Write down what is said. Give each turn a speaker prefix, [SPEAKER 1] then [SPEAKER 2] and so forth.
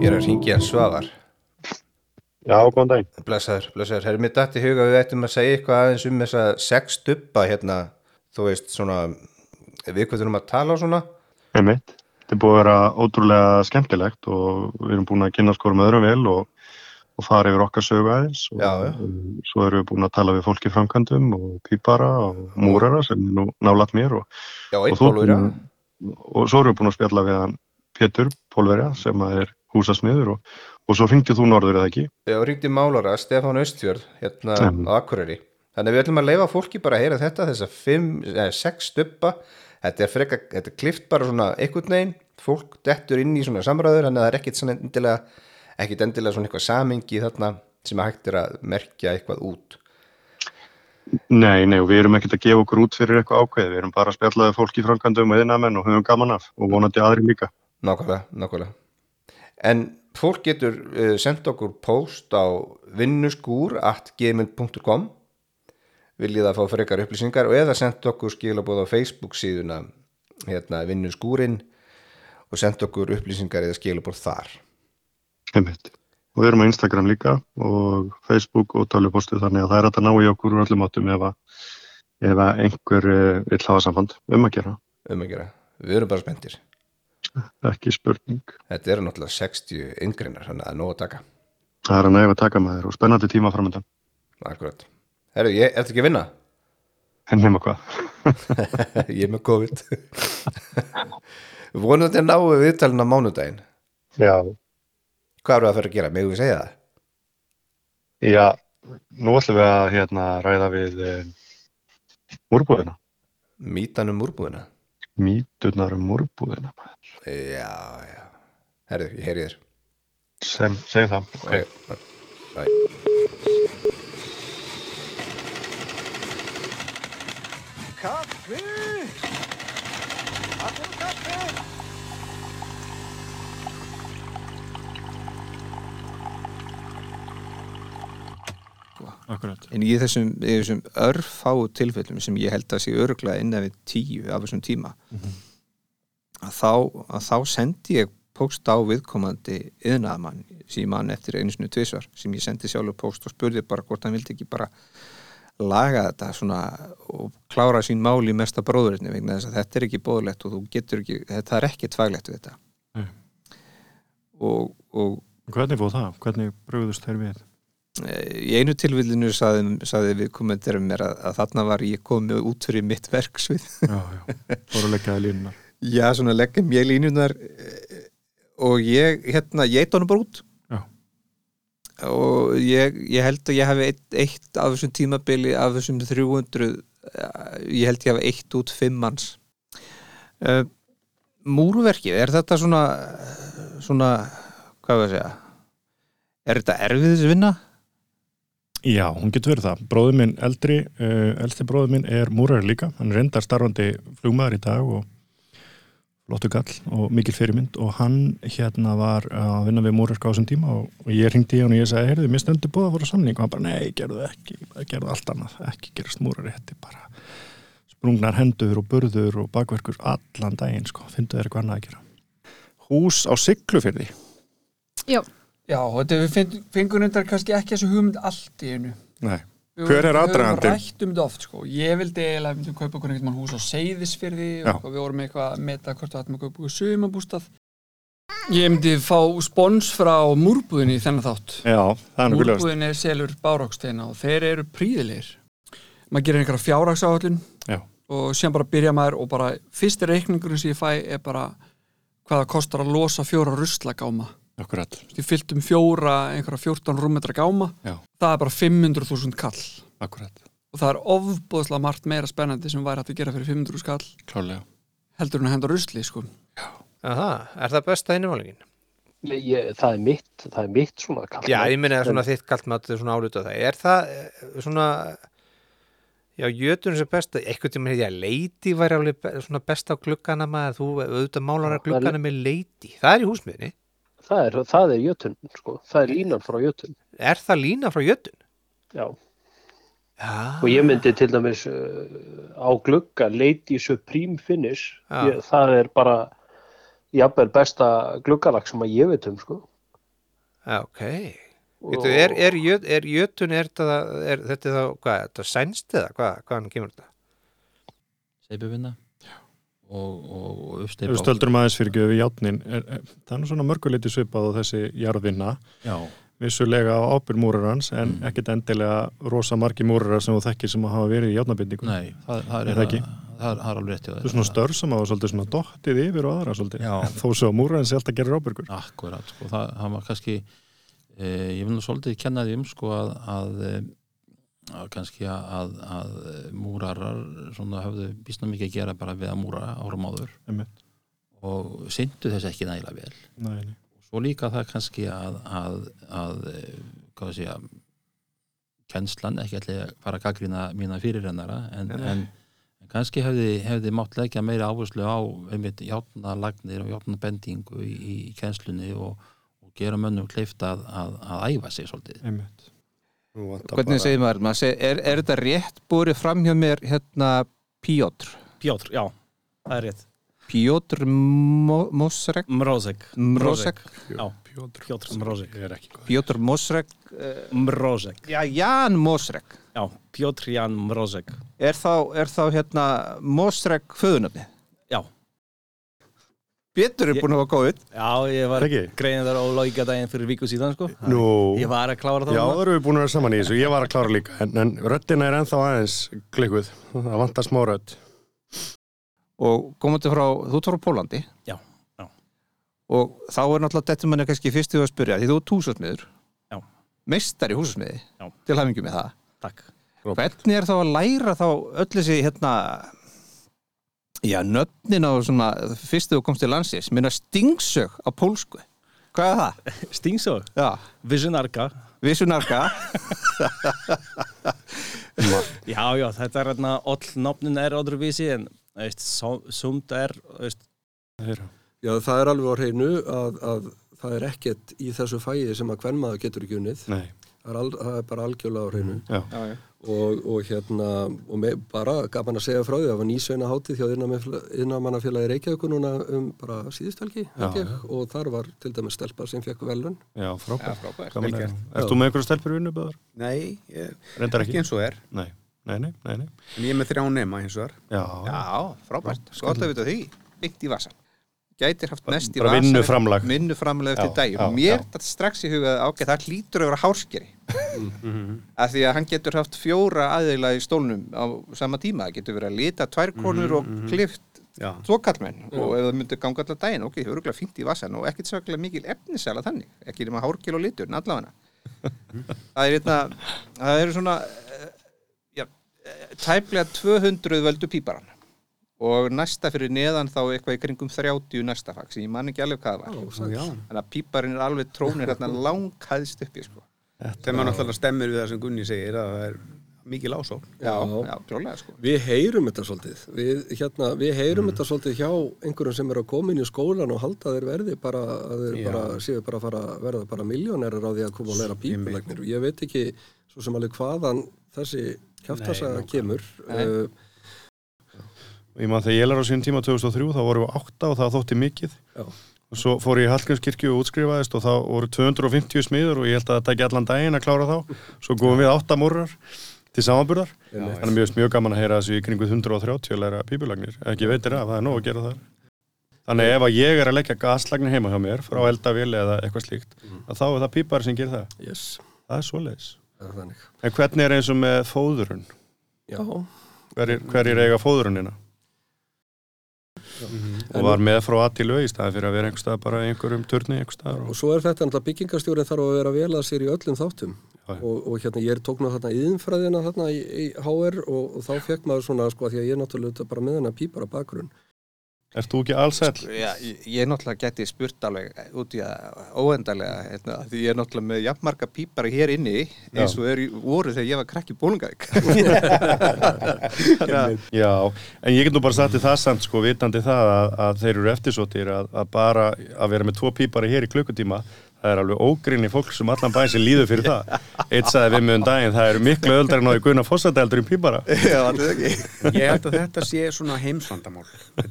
[SPEAKER 1] Ég er að ringja Svavar.
[SPEAKER 2] Já, góðan daginn.
[SPEAKER 1] Blessaður, blessaður. Herri, mér dætti huga að við ættum að segja eitthvað aðeins um þessa sex dubba hérna, þú veist, svona, við hvað þurfum að tala og svona.
[SPEAKER 2] Einmitt. Þetta er búið að vera ótrúlega skemmtilegt og við erum búin að kynna skorum öðrum vel og, og fara yfir okkar sögu aðeins. Og,
[SPEAKER 1] Já, já.
[SPEAKER 2] um, Svo erum við búin að tala við fólki framkvæmdum og pípara og múrara sem er nú nálat mér og,
[SPEAKER 1] Já,
[SPEAKER 2] Og
[SPEAKER 1] einn
[SPEAKER 2] þú-
[SPEAKER 1] bólur, já.
[SPEAKER 2] og svo erum við búin að spjalla við hann Pétur Pólverja sem að er húsasmiður og, og svo fengtið þú norður eða ekki.
[SPEAKER 1] Já, ringdi málara Stefán Austfjörð hérna
[SPEAKER 2] Mhm.
[SPEAKER 1] á Akureyri. Þannig að við ætlum að leifa fólki bara að heyra þetta, þessa fimm, eh, sex stubba. Þetta er freka, þetta er klift bara svona einhvern veginn, fólk dettur inn í svona samræður, þannig að það er ekkit svona endilega, ekkit endilega svona eitthvað samingi þarna sem að hægt er að merkja eitthvað út.
[SPEAKER 2] Nei, nei, og við erum ekkert að gefa okkur út fyrir eitthvað ákveð. Við erum bara að spjalla við fólki framkvæmdum og eðinamenn og höfum gaman af og vonandi aðri líka.
[SPEAKER 1] Nákvæmlega, nákvæmlega. En fólk getur uh, sendt okkur post á vinnuskúr at gmail.com viljið að fá frekar upplýsingar og eða sendt okkur skilabóð á Facebook síðuna hérna vinnuskúrin og sendt okkur upplýsingar eða skilabóð þar.
[SPEAKER 2] Einmitt. Og við erum á Instagram líka og Facebook og tölvupostu þannig að það er hægt að ná í okkur úr öllum áttum ef, að, ef að einhver eh, vill hafa samband um að gera.
[SPEAKER 1] Um að gera, við erum bara spenntir.
[SPEAKER 2] Ekki spurning.
[SPEAKER 1] Þetta eru náttúrulega 60 yngreinar, þannig að það er nóg að taka.
[SPEAKER 2] Það er að nægja að taka maður og spennandi tíma framöndan.
[SPEAKER 1] Akkurat. Herru, ég ertu ekki að vinna?
[SPEAKER 2] En nema hvað.
[SPEAKER 1] ég er með COVID. Vonum þetta náu viðtalin á mánudaginn.
[SPEAKER 2] Já.
[SPEAKER 1] Hvað eru að fara að gera? Megum við segja það?
[SPEAKER 2] Já, nú ætlum við að hérna, ræða við eh, múrbúðina.
[SPEAKER 1] Mítan um úrbúðina?
[SPEAKER 2] Mýturnar um múrbúðina.
[SPEAKER 1] Já, já. Herðu, ég heyri þér.
[SPEAKER 2] Sem, segjum það.
[SPEAKER 1] Okay. Bye.
[SPEAKER 3] Kaffe! Að fá kaffe!
[SPEAKER 4] Akkurat.
[SPEAKER 5] En í þessum, í þessum örfáu tilfellum sem ég held að sé öruglega innan við tíu af þessum tíma að, þá, að þá sendi ég póst á viðkomandi yðnaðamann sem ég man eftir einu sinni tvisvar sem ég sendi sjálfur póst og spurði bara hvort hann vildi ekki bara laga þetta svona og klára sín mál í mesta bróðurinni vegna þess að þetta er ekki bóðlegt og þú getur ekki, þetta er ekki tvaglegt við þetta
[SPEAKER 4] Nei.
[SPEAKER 5] og, og
[SPEAKER 4] Hvernig fóð það? Hvernig brugðust þær við?
[SPEAKER 5] Eh, í einu tilvillinu sagði, sagði við komendarum mér að, að þarna var ég komið út fyrir mitt verksvið
[SPEAKER 4] Já, já. Fóru að leggjaði línunar.
[SPEAKER 5] já, svona leggja mjög línunar eh, og ég, hérna, ég eitt honum bara út
[SPEAKER 4] Já.
[SPEAKER 5] og ég, ég held að ég hafi eitt, eitt af þessum tímabili af þessum 300 eh, ég held ég hafi eitt út fimm manns uh, múruverkið, er þetta svona svona, hvað var að segja er þetta erfiðisvinna?
[SPEAKER 4] Já, hún getur verið það. Bróður minn eldri, uh, eldri bróður minn er múrar líka. Hann er reyndar starfandi flugmaður í dag og flottu kall og mikil fyrirmynd og hann hérna var að vinna við múrarka á þessum tíma og, og ég ringdi í hann og ég sagði, heyrðu, mér stendur búið að fara á samning og hann bara, nei, gerðu ekki, bara gerðu allt annað, ekki gerast múrari, þetta er bara sprungnar hendur og burður og bakverkur allan daginn, sko, fyndu þér eitthvað annað að gera. Hús á Siglufyrði,
[SPEAKER 6] Já,
[SPEAKER 3] Já, þetta við finn- fengum reyndar kannski ekki þessu hugmynd allt í einu.
[SPEAKER 4] nei,
[SPEAKER 3] Við
[SPEAKER 4] Hver er
[SPEAKER 3] vorum- Við
[SPEAKER 4] aðdragandinn?
[SPEAKER 3] höfum rætt um þetta oft, sko. Ég vildi eiginlega að við myndum kaupa okkur einhvern mann hús á Seyðisfyrði og
[SPEAKER 4] Já.
[SPEAKER 3] eitthvað, við vorum eitthvað að meta hvort við ættum að kaupa okkur sumabústað. Ég myndi fá spons frá múrbúðinni í þennan þátt.
[SPEAKER 4] já, það er nú viljast,
[SPEAKER 3] Úrbúðin er selur bárhóksteina og þeir eru príðilegir. Maður gerir einhverja fjárhagsáhaldun
[SPEAKER 4] Já.
[SPEAKER 3] og síðan bara byrja maður og bara fyrsti reikningurinn sem ég fæ er bara hvað það kostar að losa fjóra ruslagáma.
[SPEAKER 4] akkurat,
[SPEAKER 3] Þú veist, Ég fyllt um fjóra, einhverja 14 rúmetra gáma.
[SPEAKER 4] Já.
[SPEAKER 3] Það er bara 500.000 kall
[SPEAKER 4] akkurat,
[SPEAKER 3] og það er ofbóðslega margt meira spennandi sem væri hægt að gera fyrir 500 kall
[SPEAKER 4] klálega.
[SPEAKER 3] heldur en að henda rusli, sko.
[SPEAKER 7] Aha, er það besta innválingin?
[SPEAKER 8] Nei, Ég, það er mitt, það er mitt svona kallað.
[SPEAKER 7] Já, ég meina svona þitt kallt mat er svona álutað það. Er það eh, svona já, jötunum sem besta eitthvað tíma hefði að leiti væri alveg be- svona besta á gluggana maður þú auðvitað málar að
[SPEAKER 8] Já, það er-
[SPEAKER 7] gluggana með leiti. Það er í húsmiðinni.
[SPEAKER 8] Það er, það er jötun, sko. Það er línan frá jötun.
[SPEAKER 7] Er það lína frá jötun?
[SPEAKER 8] Já.
[SPEAKER 7] Já,
[SPEAKER 8] Og ég myndi til dæmis uh, á glugga Lady Supreme Finish.
[SPEAKER 7] Já.
[SPEAKER 8] Ég, það er bara jafnvel besta gluggalag sem að ég veit um, sko.
[SPEAKER 7] Já, Ah, ok Getu, er, er, jö- er jötun er þetta, er, þetta er þá, hvað, þetta er sænst eða hvað, hvaðan kemur þetta?
[SPEAKER 6] seipubinda og, og, og
[SPEAKER 4] Ef við
[SPEAKER 6] uppsteipa
[SPEAKER 4] stöldrum aðeins fyrir gefið játnin, er, er, það er nú svona mörguleiti svipað á þessi jarðvinna,
[SPEAKER 6] já,
[SPEAKER 4] vissulega á ábyrg múrarans, en
[SPEAKER 6] Mm.
[SPEAKER 4] ekkit endilega rosa margi múrarar sem þú þekkir sem hafa verið í játnabindingu.
[SPEAKER 6] nei, það, það,
[SPEAKER 4] Er
[SPEAKER 6] er,
[SPEAKER 4] það
[SPEAKER 6] það,
[SPEAKER 4] ekki?
[SPEAKER 6] það, það er alveg rétt hjá
[SPEAKER 4] Þú er svona störf sem hafa svolítið svona dottið yfir og aðra svolítið,
[SPEAKER 6] Já.
[SPEAKER 4] þó svo að múrarans er alltaf gerir ábyrgur.
[SPEAKER 6] Akkurat, sko, það, það var kannski e, ég vil nú svolítið kenna því um sko að, að, eh, að kannski að, að, að múrarar svona höfðu býstna mikið að gera bara við að múra árum áður
[SPEAKER 4] Einmitt.
[SPEAKER 6] og syndu þess ekki nægilega vel
[SPEAKER 4] Nei, nei.
[SPEAKER 6] svo líka það kannski að, að, að eh, hvað sé að kennslan, ekki ætli að fara að gaggrina mína fyrirrennara en,
[SPEAKER 7] Nei, nei.
[SPEAKER 6] en, en kannski hefði, hefði mátt leggja meira áherslu á einmitt játnalagnir og játnabendingu í, í kennslunni og, og gera mönnum kleift að, að, að æfa sig svolítið
[SPEAKER 4] Einmitt.
[SPEAKER 1] Nú vantar
[SPEAKER 5] Hvernig
[SPEAKER 1] bara-
[SPEAKER 5] segir maður? maður seg, er, er þetta rétt búrið fram hjá mér hérna Piotr?
[SPEAKER 9] Pjotr, já, það er rétt
[SPEAKER 5] Piotr Mo- Mosrek?
[SPEAKER 9] Mrozek
[SPEAKER 5] Mrozek?
[SPEAKER 9] Pjotr Mrozek
[SPEAKER 4] Ég er ekki góð.
[SPEAKER 5] Piotr Mosrek? eh,
[SPEAKER 9] Mrozek,
[SPEAKER 5] Já, Jan Mosrek.
[SPEAKER 9] já, Pjotr Jan Mrozek
[SPEAKER 5] Er þá, er þá hérna Mosrek föðunafni?
[SPEAKER 9] Já.
[SPEAKER 5] Pétur er
[SPEAKER 9] Ég-
[SPEAKER 5] búin að hafa góð
[SPEAKER 9] Já, ég var
[SPEAKER 4] Ekki?
[SPEAKER 9] greinin þar ólóika daginn fyrir viku síðan sko
[SPEAKER 4] Nú,
[SPEAKER 9] Ég var að klára það
[SPEAKER 4] já,
[SPEAKER 9] núna.
[SPEAKER 4] það erum við búin að vera saman í þessu. Ég var að klára líka, en, en röddina er ennþá aðeins klikkuð. Það vantar smá rödd.
[SPEAKER 5] og komandi frá, þú ert frá Pólandi
[SPEAKER 9] Já, já.
[SPEAKER 5] og þá er náttúrulega þetta manni kannski fyrst við að spyrja því þú ert húsasmiður
[SPEAKER 9] Já.
[SPEAKER 5] meistari húsasmiði,
[SPEAKER 9] Já.
[SPEAKER 5] til hafingjum með það
[SPEAKER 9] Takk
[SPEAKER 5] hvernig er þá að læra þá öll þessi hérna já, nöfnin á svona fyrst þegar þú komst til landsins, minna stingsög á pólsku, hvað er það?
[SPEAKER 9] Stingsó,
[SPEAKER 5] Já,
[SPEAKER 9] Visionarka
[SPEAKER 5] vissunarka
[SPEAKER 9] Já, já, þetta er hérna all nafnin er öðruvísi en veist, som- sumt er veist,
[SPEAKER 10] Já, það er alveg á hreinu að, að það er ekkert í þessu fæi sem að hvern maður getur ekki unnið.
[SPEAKER 4] Nei.
[SPEAKER 10] Það er, al, það er bara algjörlega á hreinu.
[SPEAKER 5] já, já.
[SPEAKER 10] Og, og hérna, og me, bara gaman að segja frá því, það var nýsveina hátíð hjá innamannafélagi Reykjavíku núna um bara síðustelgi,
[SPEAKER 4] Já,
[SPEAKER 10] held ég, og þar var til dæmis stelpa sem fekk velun.
[SPEAKER 4] Já, frábært.
[SPEAKER 7] frábært
[SPEAKER 4] Gaman að- Ert þú með einhverja stelpur í vinnu, Böður?
[SPEAKER 11] Nei, ég,
[SPEAKER 4] Reyndar
[SPEAKER 11] ekki
[SPEAKER 4] ekki.
[SPEAKER 11] eins og er
[SPEAKER 4] Nei, nei, nei, nei, nei.
[SPEAKER 11] En ég er með þrjá nema hins og er
[SPEAKER 4] Já,
[SPEAKER 5] já frábært, gott að vita því byggt í vasa gætir haft mest í
[SPEAKER 4] bara
[SPEAKER 5] vasan
[SPEAKER 4] vinnuframlag.
[SPEAKER 5] vinnuframlega eftir
[SPEAKER 4] Já,
[SPEAKER 5] dag og
[SPEAKER 4] já,
[SPEAKER 5] mér
[SPEAKER 4] já.
[SPEAKER 5] þetta strax í hugaði ákveð það hlýtur að vera hárskeri
[SPEAKER 4] Mhm.
[SPEAKER 5] af því að hann getur haft fjóra aðeila í stólnum á sama tíma það getur verið að lita tvær konur
[SPEAKER 4] Mhm,
[SPEAKER 5] og klift
[SPEAKER 11] Já,
[SPEAKER 5] tókallmenn og ef það myndi ganga allar daginn ok, það er örgulega fínt í vasan og ekkert svaklega mikil efnisala þannig, ekki nema hárkil og litur en allavega það er hérna það eru svona eh, já, eh, tæplega 200 völdu píparan og næsta fyrir neðan þá eitthvað í kringum 30 næsta fag sem ég man ekki alveg hvað það var
[SPEAKER 11] já.
[SPEAKER 5] þannig að píparinn er alveg trónir hérna langhæðst uppi sko.
[SPEAKER 11] Sem að náttúrulega stemmir við það sem Gunni segir að það er mikil ásókn
[SPEAKER 5] já, já, trjólega sko.
[SPEAKER 10] Við heyrum þetta svolítið. Við, hérna, við heyrum þetta svolítið hjá einhverjum sem eru að koma inn í skólan og halda að þeir verði bara, að þeir bara, séu bara að fara, verða bara miljónerar á því að koma og læra pípulegnir. Ég veit ekki svo sem alveg hvaðan þessi kjaftasaga kemur. Uh,
[SPEAKER 4] Ég maður þegar ég lar á sín tíma 2003, þá vorum við átta og það þótti mikið.
[SPEAKER 10] Já.
[SPEAKER 4] Og svo fór ég í Hallgrímskirkju og útskrifaðist og þá voru 250 smiður og ég held að það tæki allan daginn að klára þá. Svo góðum við átta múrar til samanburðar. Þannig að mér finnst mjög gaman að heyra þessu í kringu 130 að læra pípulagnir. Ekki veitir af, það er nóg að gera þar. Þannig ef að ég er að leggja gaslagnir heima hjá mér frá eldavél eða eitthvað slíkt, að þá er það pípar sem ger það.
[SPEAKER 10] yes,
[SPEAKER 4] Það er svoleiðis.
[SPEAKER 10] það er þannig.
[SPEAKER 4] En hvernig er eins og með fóðurun?
[SPEAKER 10] Já,
[SPEAKER 4] Hverjir, hverjir eiga fóðurunina? Og var með frá að til lög í staði fyrir að vera einhver stað bara í einhverjum turni einhver staðar.
[SPEAKER 10] og
[SPEAKER 4] Og...
[SPEAKER 10] svo er þetta náttúrulega byggingastjórið þarf að vera vel að sér í öllum þáttum
[SPEAKER 4] Já, já.
[SPEAKER 10] og, og hérna ég tók nú þarna yðinfræðina þarna í, í HR og, og þá fekk maður svona sko að því að ég er náttúrulega auðvitað bara með hennar pípar á bakgrunn
[SPEAKER 4] Ert þú ekki allsæll?
[SPEAKER 5] Sko, Já, ég, ég náttúrulega geti spurt alveg eh, út í að óendalega hérna, því ég er náttúrulega með jafnmarga pípara hér inni eins og er, í- voru þegar ég var krakki bólungaðik
[SPEAKER 4] Já, en ég get nú bara sagt í það samt sko, vitandi það að, að þeir eru eftirsóttir að, að bara að vera með tvo pípari hér í klukkutíma það er alveg ógrinni fólk sem allan bæn sem líður fyrir það eitt sagði við mig um daginn, það eru miklu öldar en á í Gunnar Fossadældur í pípara
[SPEAKER 5] Já, þetta er ekki
[SPEAKER 11] Ég held að þetta sé svona heimsvandamál Þetta